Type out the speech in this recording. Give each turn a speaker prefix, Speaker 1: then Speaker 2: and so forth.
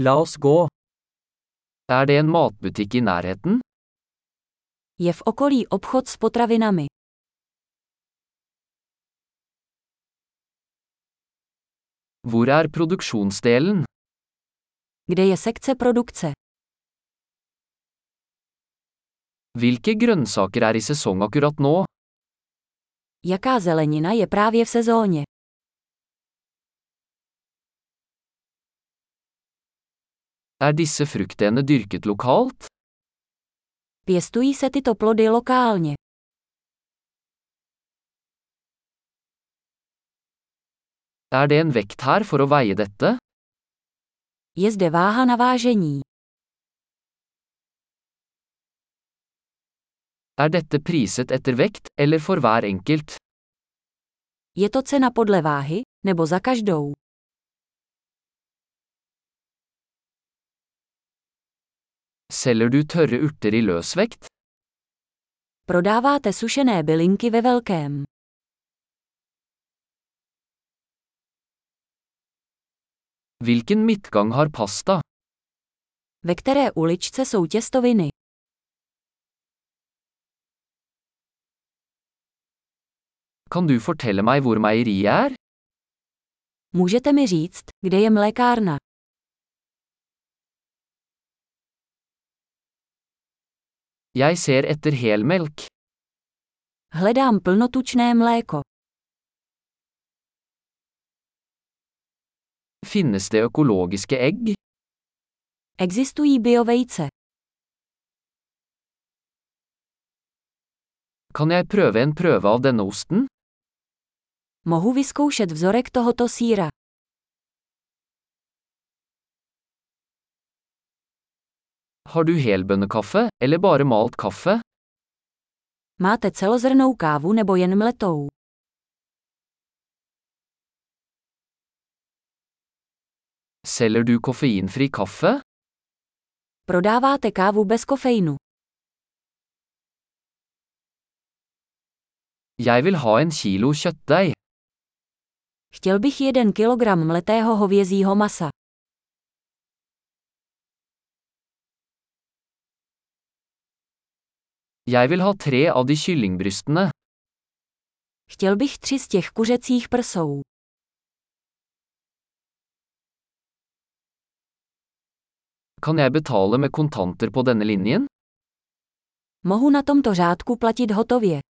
Speaker 1: La oss gå. Er det en matbutikk i nærheten?
Speaker 2: Je v okolí obchod s potravinami.
Speaker 1: Hvor er produksjonsdelen?
Speaker 2: Kde je sekce produkce?
Speaker 1: Hvilke grønnsaker er i sesong akkurat nå?
Speaker 2: Jaká zelenina je právě v sezóně?
Speaker 1: Er disse fruktene dyrket lokalt?
Speaker 2: Pěstují se tyto plody lokálně.
Speaker 1: Er det en vekt her for å veie dette?
Speaker 2: Je zde váha na vážení.
Speaker 1: Er dette priset etter vekt, eller for hver enkelt?
Speaker 2: Je to cena podle váhy, nebo za každou?
Speaker 1: Selger du tørre urter i løsvekt?
Speaker 2: Prodáváte sušené bylinky ve velkém.
Speaker 1: Hvilken midtgang har pasta?
Speaker 2: Ve které uličce jsou těstoviny?
Speaker 1: Kan du fortelle meg hvor meieriet er?
Speaker 2: Můžete mi říct, kde je mlékárna?
Speaker 1: Jeg ser etter helmelk.
Speaker 2: Hledám plnotučné mléko.
Speaker 1: Finnes det økologiske egg?
Speaker 2: Existují biovejce.
Speaker 1: Kan jeg prøve en prøve av denne osten?
Speaker 2: Mohu vyzkoušet vzorek tohoto síra.
Speaker 1: Har du helbønnekaffe, eller bare malt kaffe?
Speaker 2: Máte celozrnou kávu nebo jen mletou?
Speaker 1: Selger du koffeinfri kaffe?
Speaker 2: Prodáváte kávu bez kofeinu.
Speaker 1: Jeg vil ha en kilo kjøttdeig.
Speaker 2: Chtěl bych 1 kilogram mletého hovězího masa.
Speaker 1: Jeg vil ha tre av de kyllingbrystene.
Speaker 2: Chtěl bych tři z těch kuřecích prsou.
Speaker 1: Kan jeg betale med kontanter på denne linjen?
Speaker 2: Mohu na tomto řádku platit hotově.